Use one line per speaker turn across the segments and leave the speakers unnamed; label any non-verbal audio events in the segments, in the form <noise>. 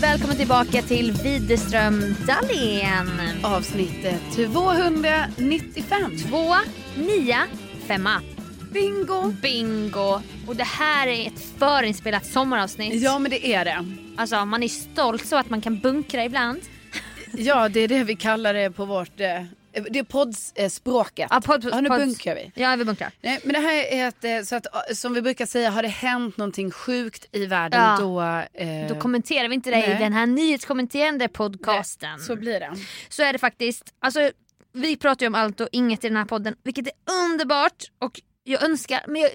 välkommen tillbaka till Widerström Dahlén.
Avsnitt 295.
Två, nia, femma.
Bingo!
Bingo! Och det här är ett förinspelat sommaravsnitt.
Ja men det är det.
Alltså man är stolt så att man kan bunkra ibland.
Ja det är det vi kallar det på vårt... eh, Det är poddspråket.
Ja, podd-
nu
podd-
bunkrar vi.
Ja vi bunkrar.
Nej, men det här är ett, eh, så att, eh, som vi brukar säga, har det hänt någonting sjukt i världen
Ja.
då... Eh,
Då kommenterar vi inte det i
nej.
den här nyhetskommenterande podcasten.
Så blir det.
så är det faktiskt. Alltså, vi pratar ju om allt och inget i den här podden, vilket är underbart. Och jag önskar, men jag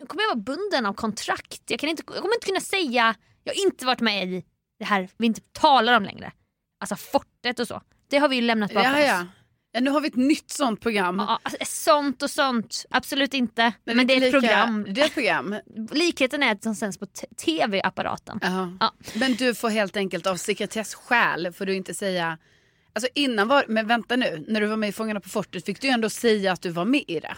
nu kommer jag vara bunden av kontrakt. Jag, kan inte, jag kommer inte kunna säga, jag har inte varit med i det här vi inte talar om längre. Alltså fortet och så. Det har vi ju lämnat bakom
Ja,
oss.
ja. ja, nu har vi ett nytt sånt program.
Ja, alltså, sånt och sånt, absolut inte. Men, det är ett
inte lika-
program.
Det är ett program.
Likheten är att de sänds på t- tv-apparaten.
Ja.
Ja.
Men du får helt enkelt av sekretesskäl får du inte säga... Alltså innan var, men vänta nu, när du var med i Fångarna på fortet fick du ju ändå säga att du var med i det.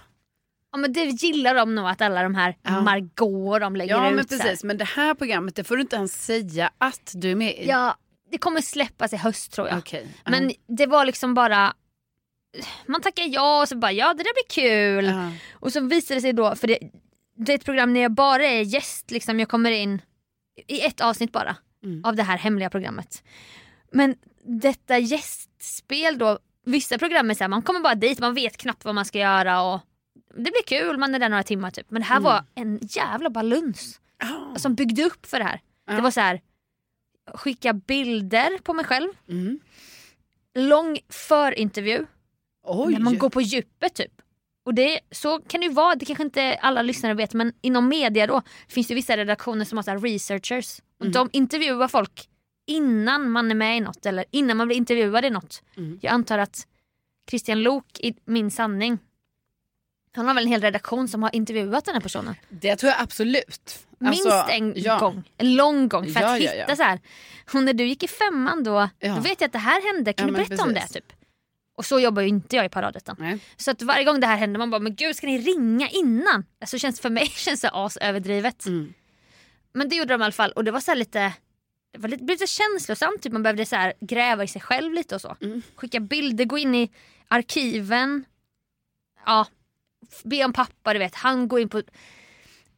Ja, men det gillar de nog att alla de här
Ja.
Margot de lägger
Ja
ut.
men
så här.
precis, men det här programmet det får du inte ens säga att du är med i.
Ja, det kommer släppas i höst tror jag.
Okej. Ja.
Men det var liksom bara man tackar ja och så bara ja det där blir kul.
Ja.
Och så visade det sig då, för det, det är ett program när jag bara är gäst, liksom, jag kommer in i ett avsnitt bara
Mm.
av det här hemliga programmet. Men detta gästspel då, vissa program är så här, man kommer bara dit, man vet knappt vad man ska göra och det blir kul, man är där några timmar typ. Men det här
Mm.
var en jävla baluns
Ja.
som byggde upp för det här.
Ja.
Det var så här skicka bilder på mig själv,
Mm.
lång förintervju
Oj.
när man går på djupet typ. Och det, så kan det ju vara, det kanske inte alla lyssnare vet men inom media då finns det vissa redaktioner som har så här researchers och
Mm.
de intervjuar folk innan man är med i något eller innan man blir intervjuad i något.
Mm.
Jag antar att Christian Lok i Min sanning, han har väl en hel redaktion som har intervjuat den här personen.
Det tror jag absolut.
Minst
Alltså,
en
ja.
gång, en lång gång för
Ja,
att
ja,
hitta
ja.
så här. Och när du gick i femman då,
Ja.
då vet jag att det här hände, kan du
Ja, men
berätta om det?
precis.
typ Och så jobbar ju inte jag i paradrätten.
Nej.
Så att varje gång det här händer man bara, men gud ska ni ringa innan? Alltså känns, för mig <laughs> känns det asöverdrivet.
Mm.
Men det gjorde de i alla fall och det var så här lite, det var lite, blev lite känslosamt, typ. man behövde så här gräva i sig själv lite och så.
Mm.
Skicka bilder, gå in i arkiven. Ja, f- be om pappa, du vet. Han går in på...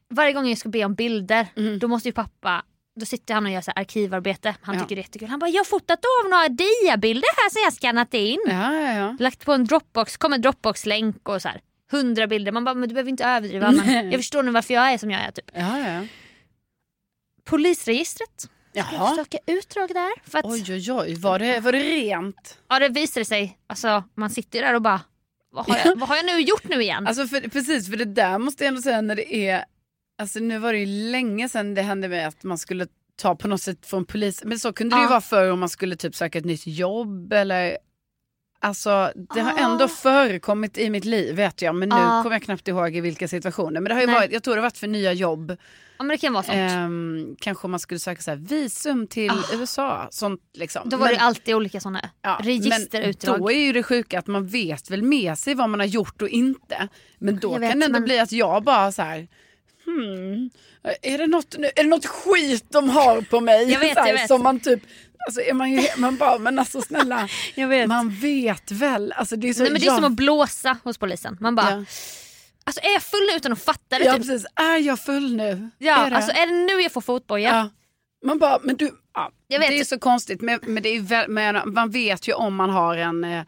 Varje gång jag ska be om bilder,
Mm.
då måste ju pappa då sitter han och gör så här arkivarbete. Han
Ja.
tycker det är jättekul. Han bara, jag har fotat av några diabilder här som jag har skannat in.
Ja, ja, ja.
Lagt på en Dropbox, kom en Dropbox-länk och så här. Hundra bilder. Man bara, men du behöver inte överdriva. Man,
Nej. <laughs>
jag förstår nu varför jag är som jag är. Typ.
ja, ja.
Polisregistret. Jag
Jaha.
söka utdrag där. För att,
Oj, oj, oj. Var det, var det rent?
Ja det visade sig, alltså man sitter ju där och bara vad har, jag, vad har jag nu gjort nu igen?
Alltså för, precis, för det där måste jag ändå säga när det är, alltså nu var det ju länge sedan det hände med att man skulle ta på något sätt från polis, men så kunde det ju
Ja.
vara förr om man skulle typ söka ett nytt jobb eller Alltså det har
Ah.
ändå förekommit i mitt liv vet jag men nu
Ah.
kommer jag knappt ihåg i vilka situationer. Men det har ju
Nej.
varit, jag tror det har varit för nya jobb.
ja men det kan vara sånt.
Ehm, kanske om man skulle söka så här visum till
Ah.
USA. Sånt liksom.
Då var
Men-
det alltid olika såna
Ja,
registerutdrag.
Men då är ju det sjuka att man vet väl med sig vad man har gjort och inte. Men då
Jag vet,
kan det ändå
men-
bli att jag bara så här. Hmm, är, det något, nu- är det något skit de har på mig?
<laughs> Jag vet,
så här,
jag vet.
Som man typ, alltså är man ju, man bara, men alltså snälla,
<laughs> jag vet.
man vet väl. Alltså det är så,
Nej, men det är
jag-
som att blåsa hos polisen. Man bara,
ja,
alltså är jag full nu utan att fatta det?
ja,
typ?
precis, är jag full nu?
ja,
är det?
alltså är det nu jag får fotboja?
Ja. Man bara, men du, ja,
Jag vet.
det är så konstigt. Men, men det är ju väl, men man vet ju om man har en, eh,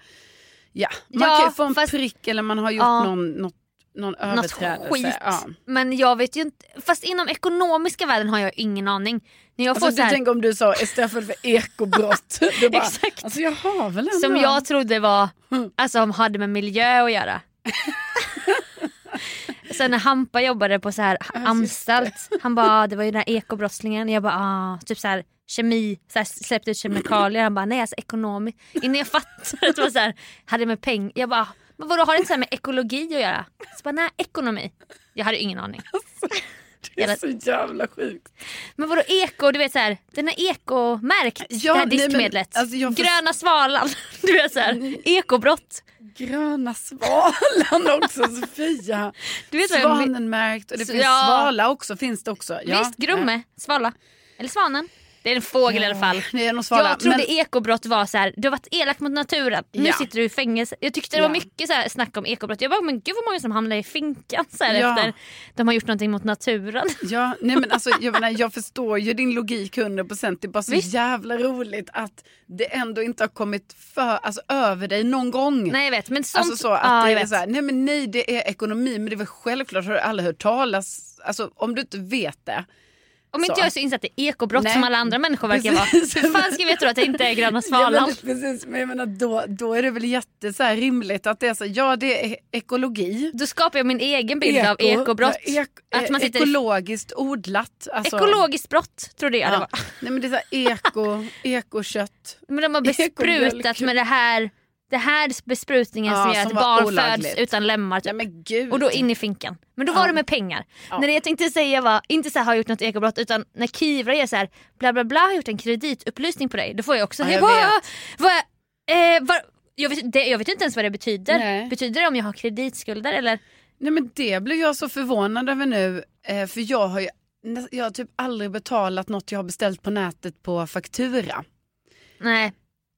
ja, man
Ja,
kan ju få en
fast-
prick eller man har gjort
Ja.
någon, något, någon
Något
överträdelse.
skit.
Ja.
Men jag vet ju inte, fast inom ekonomiska världen har jag ingen aning. När jag får
Alltså,
så
du
här,
tänker om du sa istället för
<laughs>
ekobrott. du bara,
Exakt.
Alltså jag har väl ändå.
som jag trodde var, alltså som hade med miljö att
<laughs>
göra. Sen när Hampa jobbade på så här anstalt, han bara ah, det var ju den här ekobrottslingen, jag bara ah, typ så här kemi, så här, släppte ut kemikalier, han bara nej alltså ekonomi. Innan jag fattade att det var så här, hade med pengar, jag bara ah, men vadå har det inte så här med ekologi att göra? Så bara nej ekonomi. Jag hade ingen aning.
Det är så jävla sjukt.
Men vadå eko, du vet så här, den är ekomärkt
Ja,
det här
nej, men,
diskmedlet.
alltså, jag först-
Gröna svalan, <laughs> du vet så här, ekobrott. <laughs>
Gröna svalan också Sofia.
Du vet vad jag-
Svanen märkt och det
Så-
finns
ja.
svala också. Finns det också. Ja.
Visst, Grumme, svala. Eller svanen. Det är en fågel i alla fall.
Det är någon svala.
Jag trodde
men,
ekobrott var så här, du har varit elak mot naturen, nu
Ja.
sitter du i fängelse. Jag tyckte det var
Ja.
mycket så här snack om ekobrott. Jag bara, men gud vad många som hamnar i finkan så här
Ja.
efter de har gjort någonting mot naturen. <laughs>
ja, nej, men alltså, jag, menar, jag förstår ju din logik 100%. Det är bara så
Visst.
jävla roligt att det ändå inte har kommit för, alltså, över dig någon gång.
Nej jag vet men sånt.
Alltså så att
ja, jag
det är
vet.
så här, nej men nej det är ekonomi men det är väl självklart har du aldrig hört talas, alltså om du inte vet det.
Om inte
så.
jag är så insatt i ekobrott
Nej.
som alla andra människor verkar vara.
Precis.
<laughs> Hur fan ska vi tro att det inte är Gröna
<laughs> Ja, men,
Svalan?
det- precis, men jag menar då, då är det väl jätte så här rimligt att det är så här, ja det är ekologi.
Då skapar jag min egen bild av ekobrott.
ja, ek-
Att man
eh,
sitter i-
ekologiskt odlat. Alltså,
Ekologiskt brott trodde jag det var.
ja. Nej men det är så här, eko, <laughs> ekokött.
Men
<laughs>
de har
Ekomjölk.
besprutat med det här, det här besprutningen
Ja,
som gör
som
att
var
barn
olagligt.
föds utan lemmar. typ.
Nej men gud.
Och då in i finkan. Men då
Ja.
var det med pengar.
Ja.
När det jag tänkte säga var, inte så här har jag gjort något ekobrott utan när Kivra gör så här, bla bla bla har gjort en kreditupplysning på dig. Då får jag också,
Ja,
hej,
jag
vad,
vet.
vad, eh, vad, jag, vet, det, jag vet inte ens vad det betyder.
Nej.
Betyder det om jag har kreditskulder eller?
Nej men det blev jag så förvånad över nu eh, för jag har ju nä- jag har typ aldrig betalat något jag har beställt på nätet på faktura.
Nej,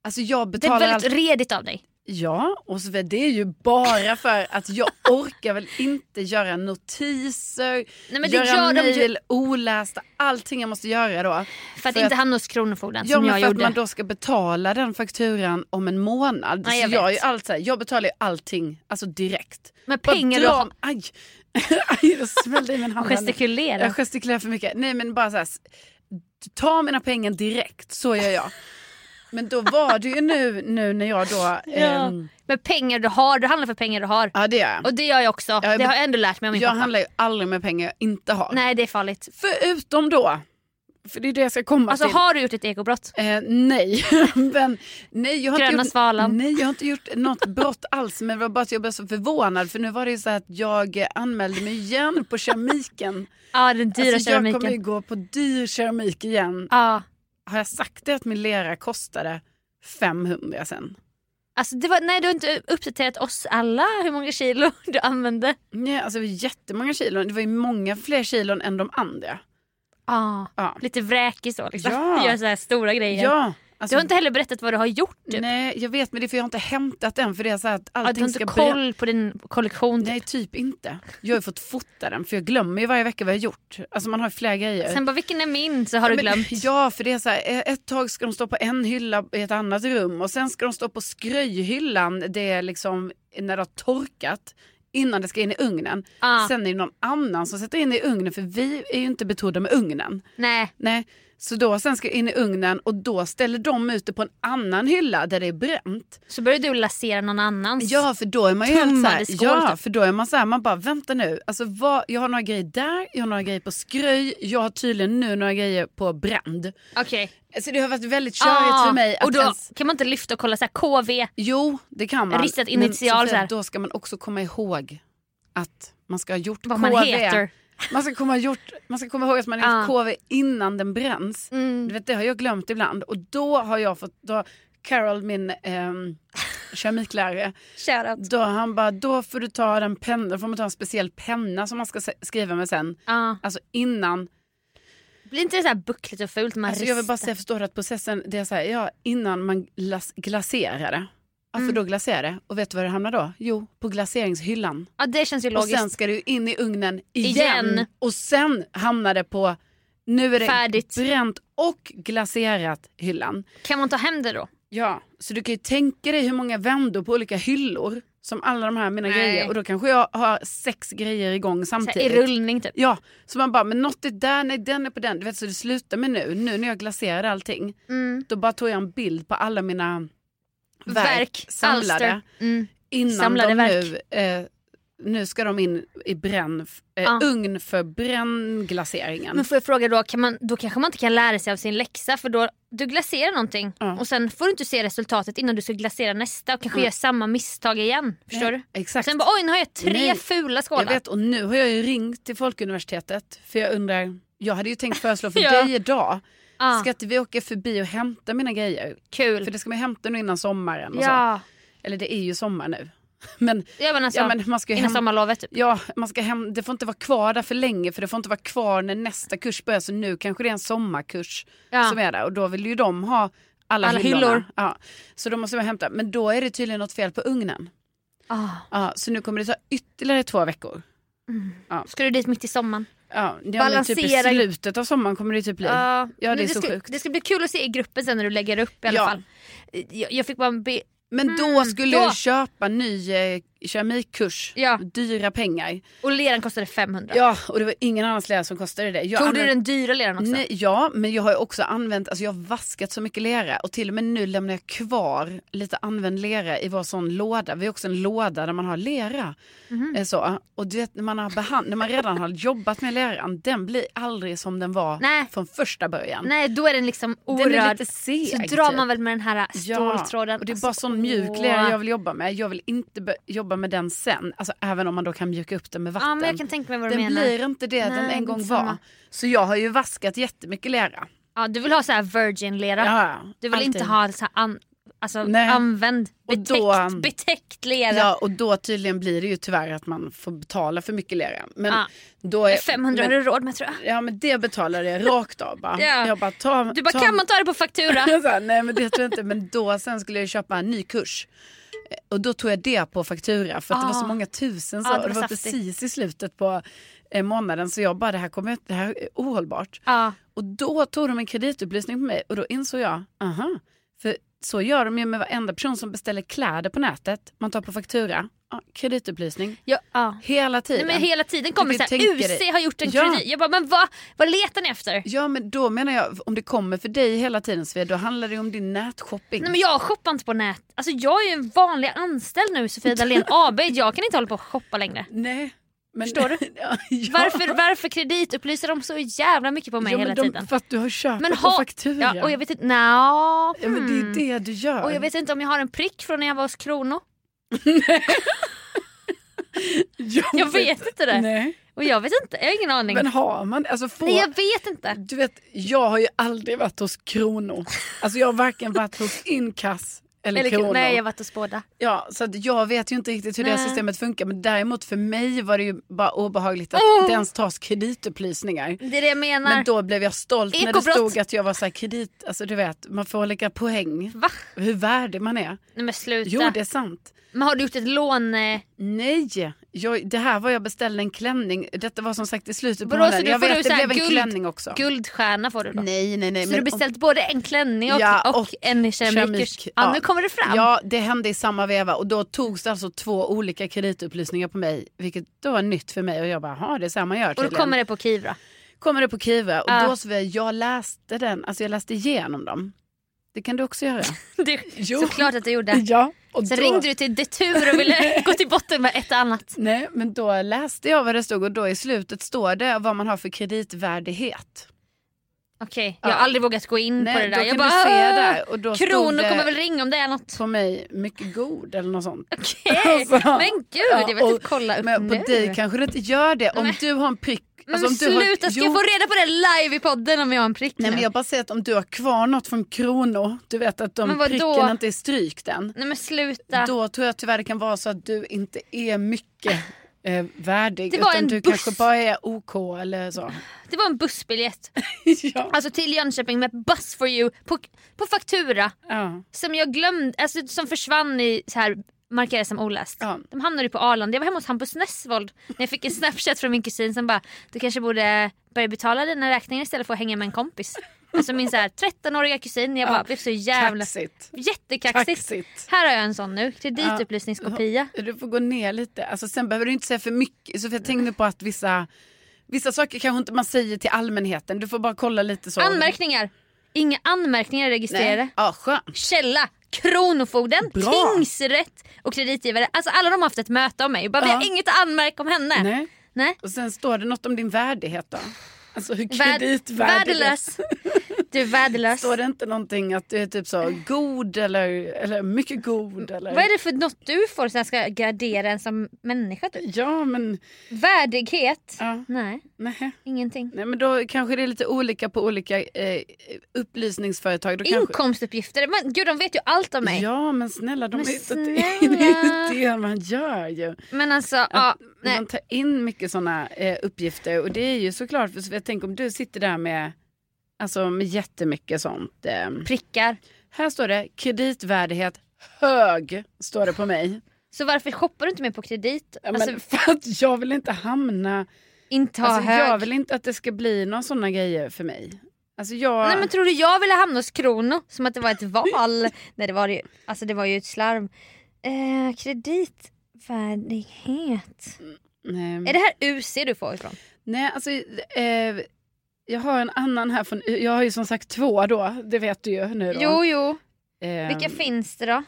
Alltså jag
det är
betalar
väldigt
allt.
redigt av dig.
Ja, och så vidare. det är ju bara för
<laughs>
att jag orkar väl inte göra notiser,
Nej, men det
göra
gör de ju
mejl olästa, allting jag måste göra då.
för att
för
inte
att-
hamna hos Kronofogden
Ja,
som
men
jag
för att
gjorde.
man då ska betala den fakturan om en månad.
Ja, jag
så jag, är
vet.
ju allt så här, jag betalar ju allting alltså direkt.
Med
Bara
pengar du
dra-
har.
Aj, <laughs> aj då smällde det i min hand. här nu.
Gestikulera.
Jag gestikulerar för mycket. Nej men bara så här, s- ta mina pengar direkt, så gör jag. Men då var det ju nu, nu när jag då...
<laughs> Ja.
ehm,
Med pengar du har, du handlar för pengar du har.
ja det gör jag.
Och det gör jag också.
jag
det
bet-
har jag ändå lärt mig av min
Jag
pappa.
handlar ju aldrig med pengar jag inte har.
Nej det är farligt.
Förutom då, för det är det jag ska komma
Alltså
till.
har du gjort ett ekobrott?
Eh, nej. <laughs> men, nej, jag har
Gröna
inte gjort,
svalan.
nej, jag har inte gjort något brott alls. Men det var bara att jag blev så förvånad. För nu var det ju så här att jag eh, anmälde mig igen på keramiken.
Ja den dyra
alltså, Jag
keramiken.
kommer ju gå på dyr keramik igen.
Ja.
Har jag sagt det att min lera kostade 500 sen?
Alltså, det var, nej du har inte uppdaterat oss alla hur många kilo du använde.
Nej, alltså det var jättemånga kilon. Det var ju många fler kilon än de andra.
Ja.
Ja.
Lite vräkig så liksom. <laughs>
Ja.
Gör så här stora grejer.
Ja,
Du
alltså,
har inte heller berättat vad du har gjort typ.
Nej, jag vet men det är för jag har inte hämtat den. För det är så här att
Ja, du
allting
har inte
ska
koll på din kollektion.
Nej, typ inte. Jag har ju fått fota den för jag glömmer ju varje vecka vad jag har gjort. Alltså man har ju flera grejer.
Sen bara vilken är min så har du
Ja, men-
glömt.
<laughs> Ja, för det är så här, eh, ett tag ska de stå på en hylla i ett annat rum och sen ska de stå på skröjhyllan, det är liksom när det har torkat, innan det ska in i ugnen.
Ja.
Sen är det någon annan som sätter in det i ugnen för vi är ju inte betrodda med ugnen.
Nej.
Nej, så då sen ska det in i ugnen och då ställer de ut det på en annan hylla där det är bränt.
Så börjar du lasera någon annans.
Ja för då är man ju helt
Tummar
såhär,
i skål,
ja
typ.
för då är man såhär, man bara vänta nu, alltså vad, jag har några grejer där, jag har några grejer på skröj, jag har tydligen nu några grejer på brand.
Okej.
Alltså det har varit väldigt körigt
Ah,
för mig att
och då
ens,
kan man inte lyfta och kolla så här KV.
jo det kan man.
Ristat
Men
initial
Sofia,
så här.
Då ska man också komma ihåg att man ska ha gjort
Vad
KV.
man heter.
Man ska komma, ha gjort, man ska komma ihåg att man har gjort
Ah.
KV innan den bränns.
Mm.
Du vet, det har jag glömt ibland och då har jag fått, då har Carol min ehm, keramiklärare,
Shoutout.
då han bara, då får du ta den pennan, då får man ta en speciell penna som man ska se- skriva med sen.
Ja.
Alltså innan,
Blir inte det så här buckligt och fult? Man
alltså jag vill bara
ristar?
säga, förstår du att processen, det är så här, ja innan man glas, glaserar det. Ja, för
Mm.
då glaserar det. Och vet du var det hamnar då? Jo, på glaseringshyllan.
Ja det känns ju
Och sen
logiskt.
ska det ju in i ugnen igen.
Igen.
Och sen hamnar det på, nu är det
Färdigt.
bränt och glaserat hyllan.
Kan man ta hem det då?
Ja, så du kan ju tänka dig hur många vändor på olika hyllor som alla de här mina
Nej.
grejer och då kanske jag har sex grejer igång
Så här, I
samtidigt.
rullning typ.
ja, så man bara, men något är där, nej den är på den. Du vet, så det slutar med nu, nu när jag glaserade allting,
Mm.
då bara tog jag en bild på alla mina verk,
Verk,
samlade
alster. Mm.
innan
Samlade
de
verk.
nu, eh, nu ska de in i bränn, eh,
Ja.
ugn för brännglaseringen.
Men får jag fråga då, kan man, då kanske man inte kan lära sig av sin läxa för då du glaserar någonting
Ja.
och sen får du inte se resultatet innan du ska glasera nästa och kanske
Mm.
gör samma misstag igen. Förstår du?
Eh, Exakt.
Sen bara oj nu har jag tre
Nej.
fula
Jag
skålar.
vet och nu har jag ju ringt till Folkuniversitetet för jag undrar, jag hade ju tänkt föreslå
<laughs>
för
Ja.
dig idag,
Ah,
ska inte vi åka förbi och hämta mina grejer?
kul.
För det ska man ju hämta nu innan sommaren och så.
ja.
Eller det är ju sommar nu. <laughs> Men,
Ja men alltså
ja, men man ska ju
innan
hem,
sommarlovet typ.
Ja, man ska hem, det får inte vara kvar där för länge för det får inte vara kvar när nästa kurs börjar. Så nu kanske det är en sommarkurs
Ja.
som är där och då vill ju de ha alla,
Alla
hyllorna.
hyllor.
Ja. Så då måste man hämta. Men då är det tydligen något fel på ugnen.
Ah.
Ja, så nu kommer det ta ytterligare två veckor.
Ska du dit mitt i sommaren?
Ja, ja, men typ i
Balansera-
slutet av sommaren kommer det typ bli.
Ja,
det
men
är så
ska,
sjukt.
Det ska bli kul att se i gruppen sen när du lägger upp i alla
Ja.
fall. Jag, jag fick bara en be-
Men då
Mm,
skulle
då.
jag köpa ny eh, keramikkurs.
Ja.
Dyra pengar.
Och leran kostade 500.
Ja, och det var ingen annans lärare som kostade det. Jag
Tog
använde-
du den dyra leran också?
Nej, ja, men jag har ju också använt, alltså jag har vaskat så mycket lera och till och med nu lämnar jag kvar lite använd lera i vår sån låda. Vi har också en låda där man har lera.
Mhm.
Eh, Så. Och du vet när man, har behand- när man redan har jobbat med leran, den blir aldrig som den var
Nej.
från första början.
Nej, då är den liksom
Den är
orörd.
lite seg.
Så drar
typ.
man väl med den här ståltråden.
och det är bara
Alltså,
sån mjuk
åh.
lera jag vill jobba med. Jag vill inte bö- jobba med den sen. Alltså även om man då kan mjuka upp den med vatten.
Ja men jag kan tänka mig vad du
den
menar.
blir inte det
Nej,
den
det är
en gång
inte
var.
samma.
Så jag har ju vaskat jättemycket lera.
Ja, du vill ha så här virgin lera.
Ja,
Du vill
alltid.
inte ha så här an, alltså,
Nej.
använd,
Och
betäckt,
då- um,
betäckt lera.
Ja, och då tydligen blir det ju tyvärr att man får betala för mycket lera. Men
Ja.
då är,
500 har
men,
du råd med tror jag.
Ja, men det betalade jag rakt av bara.
Ja.
Jag bara, ta,
Du bara
ta,
kan man ta det på faktura?
<laughs> Jag sa, nej men det tror jag inte. Men då sen skulle jag köpa en ny kurs. Eh, Och då tog jag det på faktura för att det var så
Ah.
många tusen. Så,
Ah, det
det
var
var, det var
saftigt.
precis i slutet på eh, månaden. Så jag bara, det här, kommer, det här är ohållbart.
ja.
Och då tog de en kreditupplysning på mig och då insåg jag, aha, för så gör de ju med varenda person som beställer kläder på nätet. Man tar på faktura, ja, kreditupplysning,
Ja, ja.
hela tiden.
Nej, men hela tiden kommer
Du
det
kan
så här,
tänka dig-
UC har gjort en
Ja.
kredit. Jag bara, men vad, vad letar ni efter?
Ja men då menar jag, om det kommer för dig hela tiden Sofia, då handlar det ju om din nätshopping.
Nej, men jag shoppar inte på nät. Alltså, jag är ju en vanlig anställd nu Sofia
<laughs>
Dalén AB. Jag kan inte hålla på och shoppa längre.
Nej, men...
Förstår du?
<laughs> ja, ja.
Varför, varför kreditupplyser de så jävla mycket på mig
ja, men
hela
de,
tiden?
För att du har köpt
Men
på
ha-
faktura.
Ja, och jag vet inte, nja,
Ja, men det är ju
hmm.
det du gör.
Och jag vet inte om jag har en prick från när jag var hos Krono.
Ja,
Jag
men-
vet inte det.
Nej.
Och jag vet inte, jag har ingen aning.
Men har man alltså får...
Nej, jag vet inte.
Du vet, jag har ju aldrig varit hos Kronor. Alltså jag har varken varit hos Inkass eller,
Eller,
Kronor.
nej, jag har varit hos båda.
Ja, så att jag vet ju inte riktigt hur det
Nej.
här systemet funkar. Men däremot för mig var det ju bara obehagligt att
Åh!
det ens tas kreditupplysningar.
Det är det jag menar.
Men då blev jag stolt när det
Ekobrott.
stod att jag var så här kredit, alltså du vet, man får olika poäng.
Va?
Hur värdig man är.
Nej men sluta.
Jo, det är sant.
Men har du gjort ett lån? eh,
Nej, jag, det här var jag beställde en klänning. Detta var som sagt i slutet på
Vadå, så
månaden.
du
Jag
får
vet,
du
det
så här
blev en
guld-
klänning också.
Guldstjärna får du då?
Nej, nej, nej.
Så
men
du
om-
beställt både en klänning och,
Ja,
och,
och
en keramikkurs?
keramik,
Ja.
ja.
nu kommer det fram.
Ja, det hände i samma veva och då togs det alltså två olika kreditupplysningar på mig, vilket då var nytt för mig och jag bara, jaha det är så här man gör
och då
tydligen."
kommer det på Kivra.
kommer det på Kiva och
Ja.
då så var jag, jag läste den, alltså jag läste igenom dem. Det kan du också göra.
Det,
<laughs> Jo.
Såklart att jag gjorde.
Ja, och
Sen ringde du till Detour och
<laughs>
ville gå till botten med ett och annat.
Nej, men då läste jag vad det stod och då i slutet står det vad man har för kreditvärdighet.
Okej, jag har
Ja.
aldrig vågat gå in Mm, på det
Nej,
där.
då
jag
kan du se
"Åh,
där och då stod
Kronor
det
kommer väl ringa om det är
<laughs>
något.
på mig mycket god eller något sånt.
Okej,
Alltså,
men gud
ja,
jag vill
och-
inte kolla upp
Men på
nu.
dig kanske det inte gör det. Om
Nej.
du har en prick.
men
alltså om du har-
sluta, ska
Jo,
jag få reda på det live i podden om jag har en prick
Nej,
nu?
men jag bara säger att om du har kvar något från Kronor, du vet att de
Men vadå?
pricken inte är strykt än.
Nej men sluta.
Då tror jag tyvärr det kan vara så att du inte är mycket eh, värdig.
Det var
utan
en
du
buss.
kanske bara är OK
<laughs>
eller så.
Det var en bussbiljett.
ja.
Alltså till Jönköping med Bus for you på, på faktura.
Ja.
Som jag glömde, alltså som försvann i så här markerades som oläst.
Ja.
De hamnade ju på Arlanda. Jag var hemma hos Hampus Nessvold när jag fick en snapchat från min kusin som bara du kanske borde börja betala dina räkningar istället för att hänga med en kompis. Alltså min så här 13-åriga kusin. Jag bara blev så jävla...
Kaxigt.
Jättekaxigt.
Kaxigt.
Här har jag en sån nu. Kreditupplysningskopia.
Du får gå ner lite. Alltså, sen behöver du inte säga för mycket. Så för jag tänkte på att vissa, vissa saker kanske inte man säger till allmänheten. Du får bara kolla lite så.
Anmärkningar. Inga anmärkningar är registrerade.
Nej. Ja, skönt.
Källa, Kronofogden,
Bra.
tingsrätt och kreditgivare. Alltså alla de har haft ett möte om mig. Bara, Vi har
Ja.
inget att anmärka om henne.
Nej.
Nej.
Och sen står det något om din värdighet då. Alltså hur
Värd-
<laughs> kreditvärdig du är.
Värdelös. Du är värdelös.
Står det inte någonting att du är typ så god eller, eller mycket god? Eller?
Vad är det för något du får som ska gradera en som människa? Typ?
Ja men,
Värdighet?
ja,
Nej,
nej.
ingenting.
nej men då kanske det är lite olika på olika eh, upplysningsföretag. Då kanske,
Inkomstuppgifter? Men gud de vet ju allt om mig.
Ja men snälla, de
Men
är ju inte-
snälla.
<laughs> det är ju det man gör ju.
Men alltså,
Att
ja, nej.
man tar in mycket sådana eh, uppgifter och det är ju såklart, för jag tänker om du sitter där med, alltså, med jättemycket sånt. Eh,
prickar.
här står det kreditvärdighet hög, står det på mig.
Så varför shoppar du inte mer på kredit?
Ja, men,
alltså,
för att jag vill inte hamna,
inte ha
alltså,
hög.
jag vill inte att det ska bli några sådana grejer för mig. Alltså jag,
Nej men tror du jag ville hamna hos Krono? Som att det var ett val. <laughs> Nej det var det ju. Alltså det var ju ett slarv. Eh, kreditvärdighet.
Mm. nej.
Är det här UC du får ifrån?
Nej, alltså eh, jag har en annan här från, jag har ju som sagt två då, det vet du ju nu då.
Jo jo.
Ehm,
Vilka finns det då?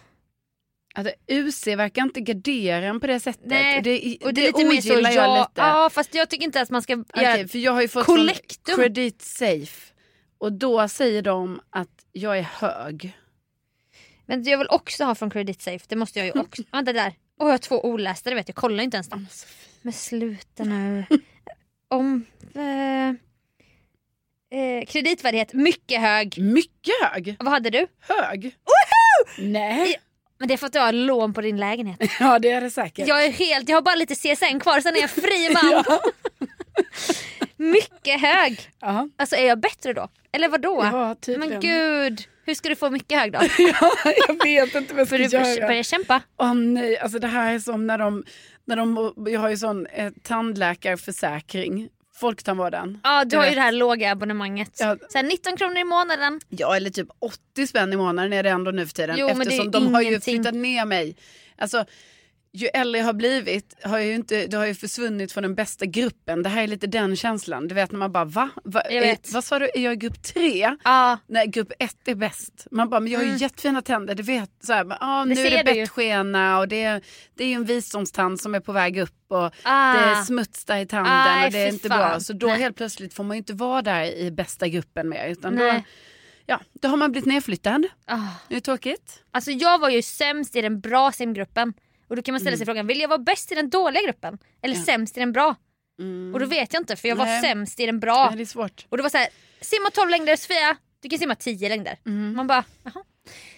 Alltså, UC verkar inte gardera en på det sättet.
Nej,
det,
Och det,
det
är lite mer så
ogillar jag lite.
Ja fast jag tycker inte att man ska
Okej,
göra...
för jag har ju fått
Kollektum.
sån credit safe. Och då säger de att jag är hög.
Men jag vill också ha från Credit Safe. Det måste jag ju <laughs> också. Vänta där. Åh jag har två olästa det vet jag. Jag Kollar inte ens dem. Men sluta nu. <laughs> Om... Eh, eh, kreditvärdighet mycket hög.
Mycket hög.
Vad hade du?
Hög. Nej.
Men det är för att du har lån på din lägenhet.
Ja, det är det
<laughs>
säkert.
Jag är helt, jag har bara lite CSN kvar sen är jag fri <laughs> man.
<laughs> Ja.
Mycket hög.
Ja,
Alltså är jag bättre då? Eller vadå?
ja tydligen.
Men gud, hur ska du få mycket <laughs> hög då?
<laughs> ja, jag vet inte vad jag
För
ska
du
göra.
börjar kämpa.
Åh nej, alltså det här är som när de, när de jag har ju sån eh, tandläkarförsäkring, Folktandvården.
Ja, du
Jag
har ju
vet.
det här låga abonnemanget.
Ja.
Så här 19 kronor i månaden.
Ja, eller typ 80 spänn i månaden är det ändå nu för tiden.
Jo, men det är
eftersom de har ju
ingenting.
flyttat ner mig. Alltså, ju äldre jag har blivit, har jag ju inte, det har ju försvunnit från den bästa gruppen. Det här är lite den känslan. Du vet när man bara, va? va
Jag vet.
eh, vad sa du, är jag i grupp tre?
Ja,
Nej, grupp ett är bäst. Man bara, men jag har ju
Mm.
jättefina tänder. Du vet, så här, men, ah,
Det
nu
ser
är
du
det
ju.
bettskena och det är, det är ju en visdomstand som är på väg upp. Och
ah.
det är smuts där i tanden
Aj,
och det är
fy
inte
fan.
bra. Så då
Nej.
helt plötsligt får man ju inte vara där i bästa gruppen mer. Utan då,
Nej.
ja, då har man blivit nedflyttad.
Ah.
Det är tråkigt.
Alltså jag var ju sämst i den bra simgruppen. Och då kan man ställa sig frågan, vill jag vara bäst i den dåliga gruppen? Eller
Mm. Ja. Mm.
sämst i den bra? Och då vet jag inte för jag var
Nej.
sämst i den
ja.
bra.
Det är svårt.
Och det var så här, simma 12 längder Sofia, du kan simma 10 längder.
Mm.
Man bara, jaha.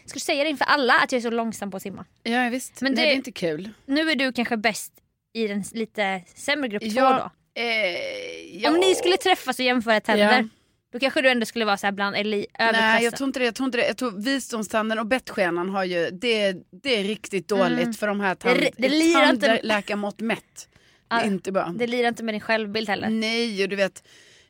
Ska du säga det inför alla att jag är så långsam på att simma?
Ja visst,
Men
men det,
det-
Nej, det är inte kul.
Nu är du kanske bäst i den s- lite sämre grupp 2 då.
Ja, eh, ja.
Om ni skulle träffas och jämföra tänder,
Ja.
då kanske du ändå skulle vara så här bland eli- överklassen.
Nej jag tror inte det. Jag tror inte det. Jag tror visdomstanden och bettskenan har ju, det, det är riktigt dåligt
Mm.
för de här tand,
Det- det lirar inte-
tandläkarmått mätt. Det
Ja.
är inte bra.
Det lirar inte med din självbild heller.
Nej och du vet,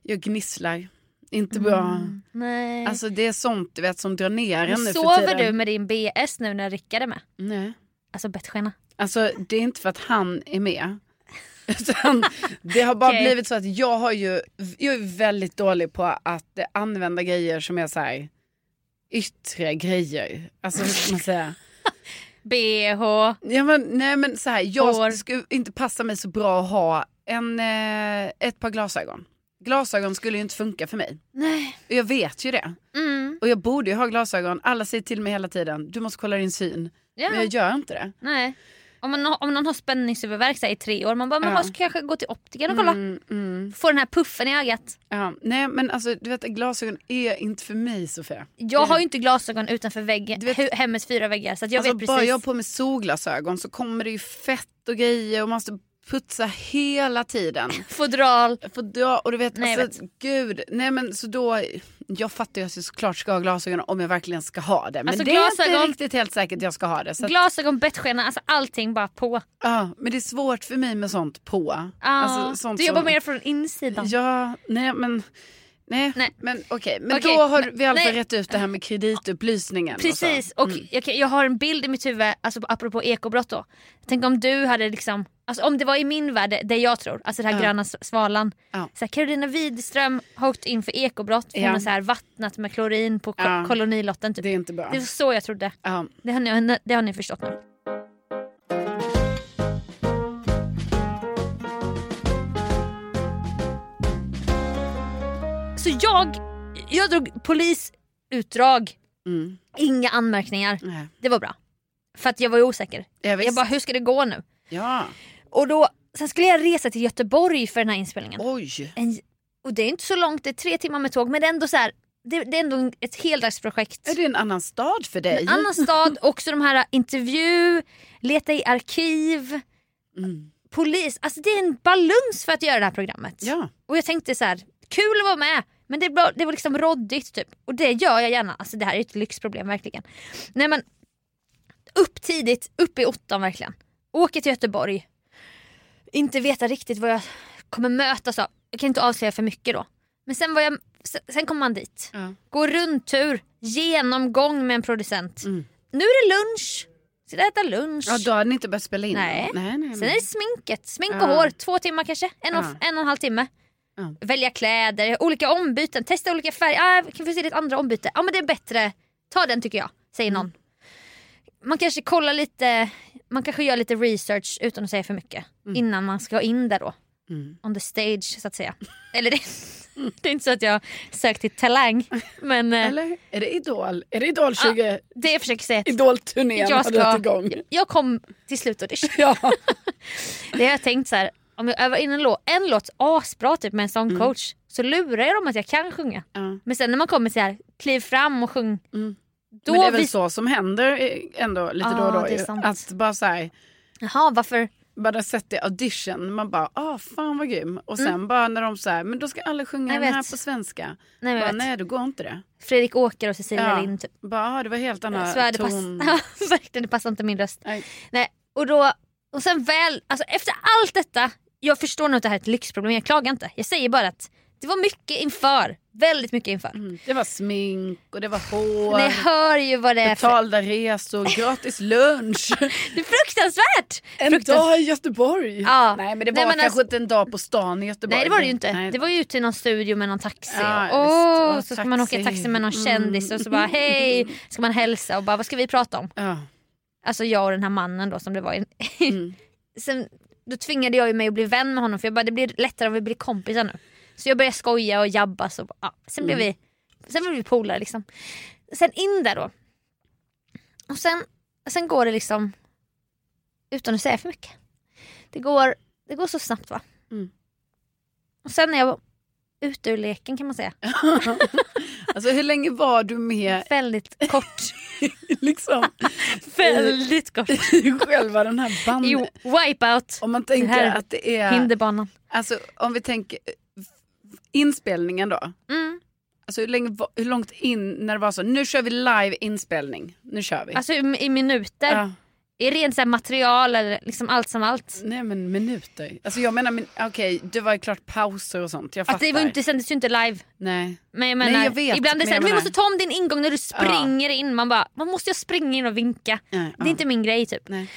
jag gnisslar. Inte bra.
Mm. Nej.
Alltså det är sånt du vet som drar ner en nu för
Sover
tiden.
du med din BS nu när Rickard är med?
Nej.
Alltså bettskena.
Alltså det är inte för att han är med. <laughs> Utan det har bara
Okej.
blivit så att jag har ju, jag är väldigt dålig på att eh, använda grejer som är så här yttre grejer. Alltså hur ska man säga?
BH.
Ja, men, nej men så här,
Hår.
jag skulle inte passa mig så bra att ha en, eh, ett par glasögon. Glasögon skulle ju inte funka för mig.
Nej.
Och jag vet ju det.
Mm.
Och jag borde ju ha glasögon. Alla säger till mig hela tiden, du måste kolla din syn.
Ja.
Men jag gör inte det.
Nej. Om, man, har- om någon har spänningshuvudvärk så här i tre år, man bara, men
Ja.
man ska kanske gå till optiken och kolla.
Mm, mm.
Få den här puffen i ögat.
Ja, nej men alltså du vet glasögon är inte för mig Sofia.
Jag
Mm.
har ju inte glasögon utanför väggen,
Du vet-
hu- hemmets fyra väggar så att jag
alltså,
vet
Bara
precis.
jag har på mig solglasögon så kommer det ju fett och grejer och man måste putsa hela tiden.
Fodral.
För då, och du vet,
Nej, jag
alltså, gud, nej men så då, jag fattar ju att jag såklart ska ha glasögon om jag verkligen ska ha det. Men
Alltså,
det är
glasögon-
inte riktigt helt säkert jag ska ha det. Så att,
Glasögon, bettskena, alltså allting bara på.
ja, men det är svårt för mig med sånt på.
Ah,
Alltså, sånt
du jobbar
som-
mer från insidan.
Ja, nej men, nej,
Nej.
men okej. Men
Okej,
då har
men-
vi i alla fall
nej.
rätt ut det här med kreditupplysningen. och så. Mm,
Precis, och jag, kan- jag har en bild i mitt huvud, alltså apropå ekobrott då. Tänk om du hade liksom, alltså om det var i min värld, det jag tror, alltså det här
Ja.
gröna s- svalan.
Ja.
Så här, Carolina Widström har åkt in för ekobrott för
Ja.
hon har så här vattnat med klorin på ko-
Ja.
kolonilotten. Typ.
Det
Det...
är inte bra.
var så jag trodde.
Ja.
Det har ni, det har ni förstått nu. Så jag Jag drog polisutdrag,
Mm.
inga anmärkningar.
Nej.
Det var bra. För att jag var ju osäker.
Ja, visst.
Jag bara, hur ska det gå nu?
ja.
Och då, sen skulle jag resa till Göteborg för den här inspelningen.
Oj.
En, och det är inte så långt, det är tre timmar med tåg men det är ändå så här, det, det är ändå en- ett heldagsprojekt.
Är det en annan stad för dig?
En annan stad, också de här ä, intervju, leta i arkiv,
Mm.
polis. Alltså det är en balans för att göra det här programmet.
Ja.
Och jag tänkte så här, kul att vara med men det, var- det var liksom råddigt typ. Och det gör jag gärna. Alltså det här är ett lyxproblem verkligen. Nej men, upp tidigt, upp i åttan verkligen. Åker till Göteborg. Inte veta riktigt vad jag kommer mötas av. Jag kan inte avslöja för mycket då. Men sen, var jag, sen, sen kom man dit.
ja.
Går rundtur, genomgång med en producent.
Mm.
Nu är det lunch. Sitta och äta lunch.
Ja, då hade ni inte börjat spela in.
Nej.
nej, nej,
Sen är
nej.
det sminket, smink och
Ja.
hår, två timmar kanske, en, och,
Ja.
en och en halv timme.
Ja.
Välja kläder, olika ombyten, testa olika färger, ah, kan vi se ditt andra ombyte? Ja men det är bättre, ta den tycker jag, säger
Mm.
någon. Man kanske kollar lite, man kanske gör lite research utan att säga för mycket innan man ska in där då.
Mm.
On the stage så att säga. Eller det, <laughs> det är inte så att jag sökt till Talang men eh,
Eller? Är det Idol? Är det Idol 20?
det jag försöker säga är att
Idol-turnén
jag
har
ska,
dragit igång.
jag, jag kom till
<laughs>
slutaudition.
Ja.
Det har jag tänkt så här. Om jag övar in en låt, en låt asbra typ med en
Mm.
sångcoach så lurar jag dem att jag kan sjunga.
ja.
Men sen när man kommer så här, kliv fram och sjung.
Mm.
Då
Men det är väl
vis-
så som händer eh, ändå lite
Ja,
då och då.
det är
ju.
sant.
Att bara så här,
Jaha varför?
bara sett i audition, man bara ah fan vad grym. Och sen bara när de så här, men då ska alla sjunga
Mm. Jag
den här
vet.
på svenska.
Nej, men jag
Bara,
vet.
nej då går inte det.
Fredrik Åker och Cecilia
Ja.
Lind typ.
Bara ah, det var helt annan
Så är det pass- <laughs>
ton.
Verkligen det passar inte min röst.
Nej.
Nej, och, då, och sen väl, alltså efter allt detta, jag förstår nog att det här är ett lyxproblem, jag klagar inte. Jag säger bara att det var mycket inför, väldigt mycket inför.
Mm. Det var smink och det var hår.
Ni hör ju vad det är för...
Betalda resor,
<laughs>
gratis lunch,
Det är fruktansvärt!
en
Fruktans-
dag i Göteborg.
Ja.
Nej men det var
Nej, men
kanske
alltså-
inte en dag på stan i Göteborg.
Nej det var det ju inte.
Nej.
Det var ju ute i någon studio med någon taxi.
Ja,
och,
visst.
åh,
Och
så ska man åka
taxi. Mm.
taxi med någon kändis och så bara hej, ska man hälsa och bara vad ska vi prata om?
Ja.
Alltså jag och den här mannen då som det var. i- <laughs>
Mm.
Sen, då tvingade jag ju mig att bli vän med honom för jag bara det blir lättare om vi blir kompisar nu. Så jag började skoja och jabba. Så, ja. sen, blev
Mm.
vi, sen blev vi polare liksom. Sen in där då. Och sen, sen går det liksom utan att säga för mycket. Det går, det går så snabbt va.
Mm.
Och sen är jag ute ur leken kan man säga.
<laughs> Alltså hur länge var
<laughs>
du med
Väldigt
<laughs>
kort.
liksom,
Väldigt kort.
i själva den här banden?
Jo, wipeout.
Om man tänker
här-
att det är,
Hinderbanan.
alltså om vi tänker eh, inspelningen då.
Mm.
Alltså hur, länge, var- hur långt in när det var så, nu kör vi live inspelning, nu kör vi.
Alltså i, i minuter.
Ja.
I rent så här material eller liksom allt som allt.
Nej men minuter. Alltså jag menar, min- okej det var ju klart pauser och sånt, jag
Att
fattar.
Alltså, det var ju inte, sändes ju inte live.
Nej.
Men jag menar,
Nej, jag vet,
ibland är det
men jag
såhär, vi
menar-
måste ta om din ingång när du springer in. Man bara, man måste jag springa in och vinka?
Nej,
Det är inte min grej typ.
Nej.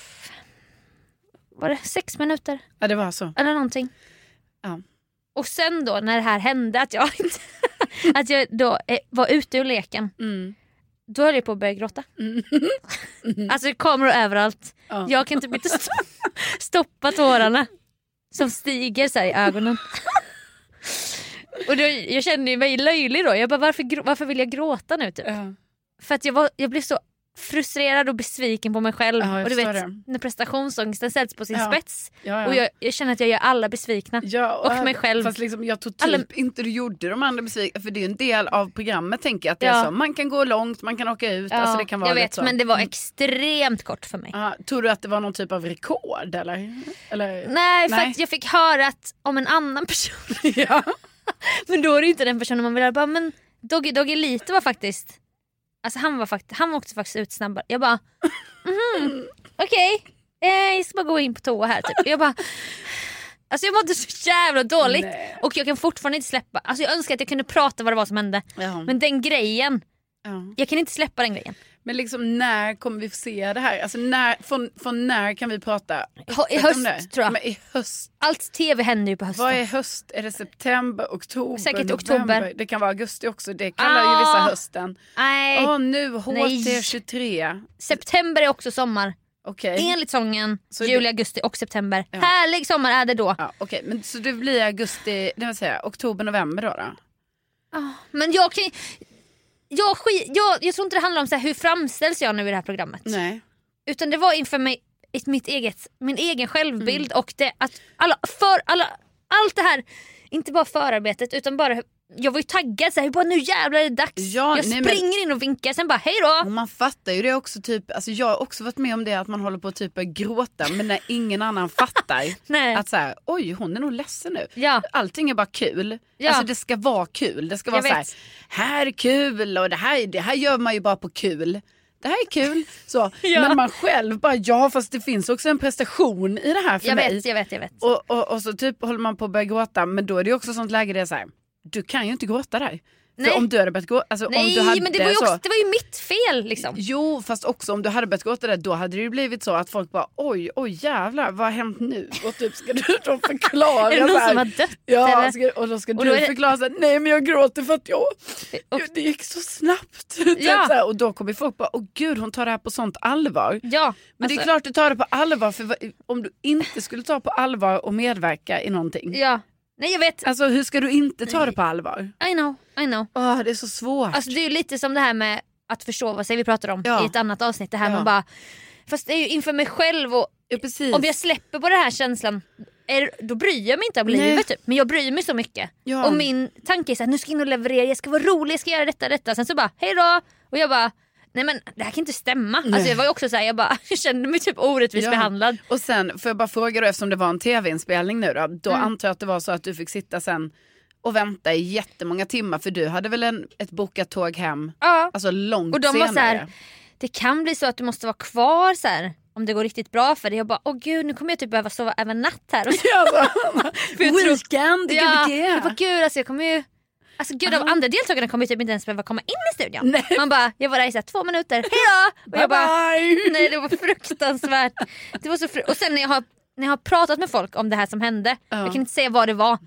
<sighs> Var det sex minuter?
Ja det var så.
Eller någonting.
Ja.
Och sen då när det här hände, att jag, inte, <laughs> att jag då eh, var ute ur leken.
Mm.
Då höll jag på att börja gråta.
<laughs>
Alltså kameror överallt.
Ja.
Jag kan typ inte st- <laughs> stoppa tårarna som stiger så här i
<laughs>
ögonen. Och då, jag kände ju mig löjlig då. Jag bara, varför, grå- varför vill jag gråta nu? Typ?
Ja.
För att jag, var, jag blev så frustrerad och besviken på mig själv.
Ja, jag
och du
förstår
vet,
det.
när prestationsångesten sätts på sin
Ja.
spets.
Ja, ja.
Och jag, jag känner att jag gör alla besvikna.
Ja,
och mig själv.
Fast liksom, jag tror typ
Alla-
inte du gjorde de andra besvikna. För det är ju en del av programmet tänker jag. Att det
Ja.
är så. Man kan gå långt, man kan åka ut. Alltså, det kan vara
jag
lite
vet,
så. Mm.
men det var extremt kort för mig.
Ja, tror du att det var någon typ av rekord eller? eller...
Nej, för
Nej.
att jag fick höra att om en annan person
<laughs> ja.
Men då är det inte den personen man vill ha. Bara, men Doggy Doggy Lito var faktiskt... Alltså han, var fakt- han åkte faktiskt ut snabbare. Jag bara... mhm, Okej, eh, jag ska bara gå in på toa här. Typ. Jag bara... Alltså jag mådde så jävla dåligt.
Nej.
Och jag kan fortfarande inte släppa... Alltså jag önskar att jag kunde prata vad det var som hände.
Ja. Men...
Men den grejen, jag kan inte släppa den grejen.
men liksom när kommer vi få se det här? Alltså när, från, från när kan vi prata?
Ho- I
om
höst
det?
tror jag.
Men i höst?
Allt tv händer ju på hösten.
Vad är höst? Är det september, oktober,
Säkert
november?
oktober.
Det kan vara augusti också. Det kallar ju
Ah.
vissa hösten.
Nej,
Åh nu
Nej.
HT23.
september är också sommar.
Okej.
Enligt sången,
Så det-
juli, augusti och september.
Ja.
Härlig sommar är det då.
Ja, okej, men så det blir augusti, det vill säga oktober, november då? då?
Ah, Men jag kan ju- jag, sk- jag, jag tror inte det handlar om så här, hur framställs jag nu i det här programmet.
Nej.
Utan det var inför mig, ett- mitt eget, min egen
Mm.
självbild och det att alla, för, alla, allt det här, inte bara förarbetet utan bara jag var ju taggad, så här, jag bara, nu jävlar är det dags. jag
Ja, nej, men- Mm.
springer in och vinkar, sen bara hej då.
Och man fattar ju det också, typ, alltså jag har också varit med om det att man håller på att typ börja gråta men när ingen annan fattar.
<laughs> Nej.
Att så här, oj hon är nog ledsen nu.
Ja.
Allting är bara kul.
Ja.
Alltså det ska vara kul. Det ska vara
Jag
så här,
vet.
här är kul och det här, det här gör man ju bara på kul. Det här är kul. Så.
<laughs> Ja.
Men man själv bara, ja fast det finns också en prestation i det här för
Jag
mig.
vet, jag vet, jag vet.
Och, och, och så typ håller man på att börja gråta men då är det ju också sånt läge där jag säger du kan ju inte gråta där.
Nej.
För om du hade börjat gråta, alltså om
Nej
du hade
men det var, ju
så,
också, liksom. det var ju mitt fel liksom.
Jo fast också om du hade börjat gråta där då hade det ju blivit så att folk bara oj oj jävlar vad har hänt nu? Och typ ska du då
<laughs>
förklara.
Är det
så
någon
här,
som har dött?
Ja,
eller?
ska, och då ska
Och
du
då är det-
förklara så här, nej men jag gråter för att jag,
Och,
det gick så snabbt. <laughs> Typ
Ja.
så här, och då kommer folk bara, åh gud hon tar det här på sånt allvar.
ja,
Men det är
alltså,
klart du tar det på allvar, för vad- om du inte skulle ta på allvar och medverka i någonting.
ja. Nej jag vet,
Alltså hur ska du inte ta det på allvar?
I know, I know.
Åh, det är så svårt.
Alltså det är ju lite som det här med att försova sig vi pratade om
Ja.
i ett annat avsnitt. Det här
Ja.
man bara, fast det är ju inför mig själv och
ja, precis.
om jag släpper på den här känslan är, då bryr jag mig inte om
Nej.
livet typ. Men jag bryr mig så mycket.
Ja.
Och min tanke är såhär, nu ska jag in och leverera, jag ska vara rolig, jag ska göra detta detta. Sen så bara, hej då! Och jag bara, nej men det här kan inte stämma. Alltså jag var ju också såhär, jag bara <laughs> jag kände mig typ orättvist
Ja.
behandlad.
Och sen, får jag bara fråga då, eftersom det var en tv-inspelning nu då, då
Mm.
antar jag att det var så att du fick sitta sen och vänta i jättemånga timmar, för du hade väl en, ett bokat tåg hem,
Ja.
alltså långt
Och de
senare.
var så här, <laughs> det kan bli så att du måste vara kvar så här, om det går riktigt bra för dig. Jag bara, åh gud nu kommer jag typ behöva sova över natt här. Och
Ja, <laughs>
För jag tror-
Weekend,
Ja,
gbg.
jag bara, gud alltså jag kommer ju... Alltså gud de andra deltagarna kommer ju typ inte ens behöva komma in i studion.
Nej.
Man bara, jag var där i så här, två
<laughs>
minuter, hejdå! Och jag bara,
bye!
nej det var fruktansvärt. Det var så fru- och sen när jag, har, när jag har pratat med folk om det här som hände,
Ja.
jag kan inte säga vad det var.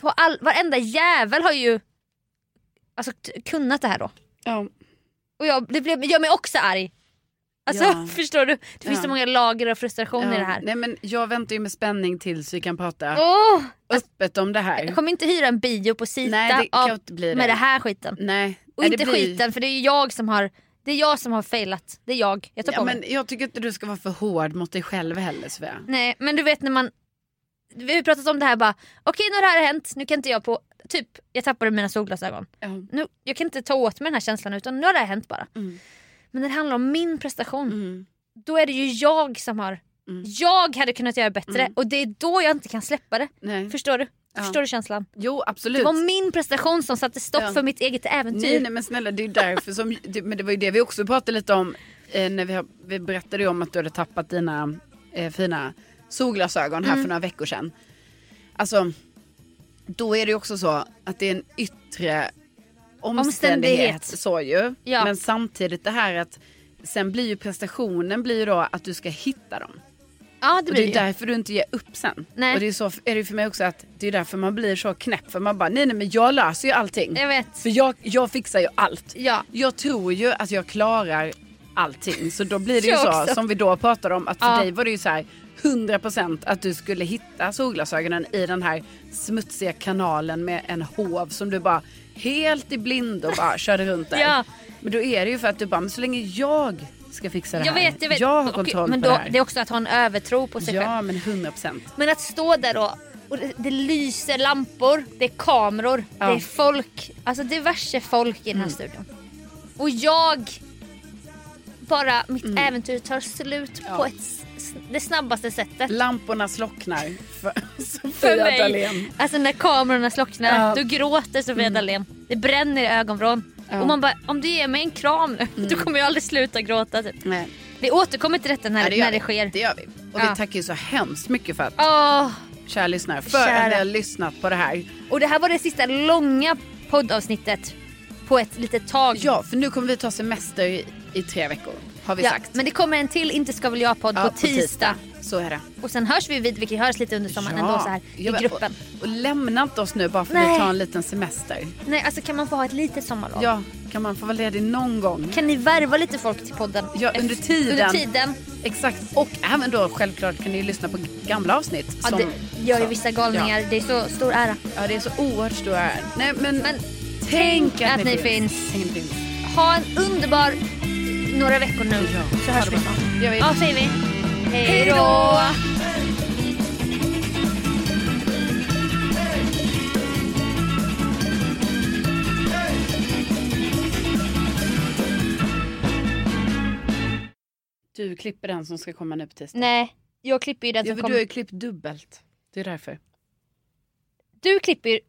Då har All, varenda jävel har ju alltså, t- kunnat det här då.
Ja.
Och jag, det blev, gör mig också arg. Alltså
Ja.
<laughs> förstår du? Det finns
Ja.
så många lager av frustration i
Ja.
det här.
Nej, men jag väntar ju med spänning tills vi kan prata
Åh,
öppet om det här.
jag kommer inte hyra en bio på Sita
Nej, det kan
av,
ju inte bli det.
med det här skiten.
Nej.
Och
Nej,
inte
det blir-
skiten för det är ju jag som har det är jag som har failat. Det är jag. Jag tar
Ja,
på mig.
men jag tycker inte du ska vara för hård mot dig själv heller Svea.
Nej men du vet när man vi har ju pratat om det här bara okej nu har det här hänt nu kan inte jag på typ jag tappade mina solglasögon.
Ja.
Nu, jag kan inte ta åt mig den här känslan utan nu har det här hänt bara.
Mm.
Men när det handlar om min prestation
Mm.
då är det ju jag som har
Mm.
jag hade kunnat göra bättre och det är då jag inte kan släppa det.
Nej.
Förstår du?
Mm. Ja.
Förstår du känslan?
Jo absolut.
Det var min prestation som satte stopp
Ja.
för mitt eget äventyr.
Nej, nej men snälla det är ju
<laughs>
därför som, det, men det var ju det vi också pratade lite om eh, när vi, har, vi berättade ju om att du hade tappat dina eh, fina solglasögon
Mm.
här för några veckor sedan. Alltså, då är det ju också så att det är en yttre omständighet,
Omständighet.
så ju.
Ja.
Men samtidigt det här att sen blir ju prestationen blir ju då att du ska hitta dem.
Ja det blir
Och det
det
är
ju.
därför du inte ger upp sen.
Nej.
Och det är så är det ju för mig också att det är därför man blir så knäpp för man bara nej nej men jag löser ju allting.
Jag vet.
För jag, jag fixar ju allt.
Ja.
Jag tror ju att jag klarar allting. Så då blir det ju
Jag
så
också.
som vi då pratade om att för
Ja.
dig var det ju så här 100% att du skulle hitta solglasögonen i den här smutsiga kanalen med en hov som du bara helt i blind och
<laughs>
bara körde runt där.
Ja.
Men då är det ju för att du bara, men så länge jag ska fixa det
Jag
här.
vet, jag vet.
har
Och-
kontroll
men
på
då,
det här.
Det är också att ha en övertro på sig själv.
ja men 100%.
Men att stå där och, och det, det lyser lampor, det är kameror,
Ja. Mm.
det är folk. Alltså diverse folk i den här studion. Och jag... Bara mitt äventyr tar slut
Mm. Ja.
på ett, s- s- det snabbaste sättet.
Lamporna slocknar för <laughs>
För
Sofia
mig.
Dalén.
Alltså när kamerorna slocknar,
Ja. Mm.
då gråter Sofia Dalén. Det bränner i ögonvrån.
Ja. Mm.
Och man bara, om du ger mig en kram nu, <laughs> då kommer jag aldrig sluta gråta. Typ.
Nej.
Vi återkommer till detta när,
Ja, gör
när det
vi.
sker.
Det gör vi. Och
Ja.
vi tackar ju så hemskt mycket för att
Åh.
kära lyssnare, för
Kära.
att ni har lyssnat på det här.
Och det här var det sista långa poddavsnittet på ett litet tag.
Ja, för nu kommer vi ta semester i, i tre veckor, har vi
Ja,
sagt.
Men det kommer en till Inte ska väl jag-podd
Ja,
på, tisdag.
Så är det.
Och sen hörs vi vid, vilket hörs lite under sommaren ändå så här
Ja, men-
i gruppen.
Och, och lämna inte oss nu bara för att
Nej.
vi tar en liten semester.
Nej alltså kan man få ha ett litet sommarlov?
Ja, kan man få vara ledig någon gång?
Kan ni värva lite folk till podden?
Ja, under
Ef-
tiden.
Under tiden.
Exakt. Och även då självklart kan ni lyssna på gamla avsnitt.
Ja,
som-
det gör ju vissa galningar. Det är så stor ära.
Ja, ja, det är så oerhört stor ära. Nej, men,
Men-
till Tänk
att ni finns.
Tänk att ni finns.
Ha en underbar några veckor nu
Ja,
så
ha
hörs
det
vi.
bra. Det gör vi.
Ja, säger vi. Hej då!
Du klipper den som ska komma nu på tisdag.
Nej, jag klipper ju den
ja,
som
för
kom.
Du har ju klippt dubbelt. Det är därför.
Du klipper ju...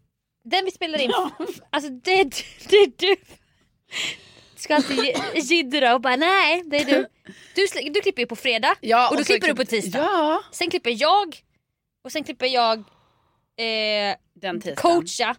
Den vi spelar in.
Ja.
Alltså det är, du- <laughs> det är du. Ska alltid gi- jiddra och bara nej, det är du. Du, sl- du klipper ju på fredag
Ja,
och då
så
klipper du på
klipp-
tisdag.
Ja,
Sen klipper jag och sen klipper jag eh,
den tisdagen.
coacha.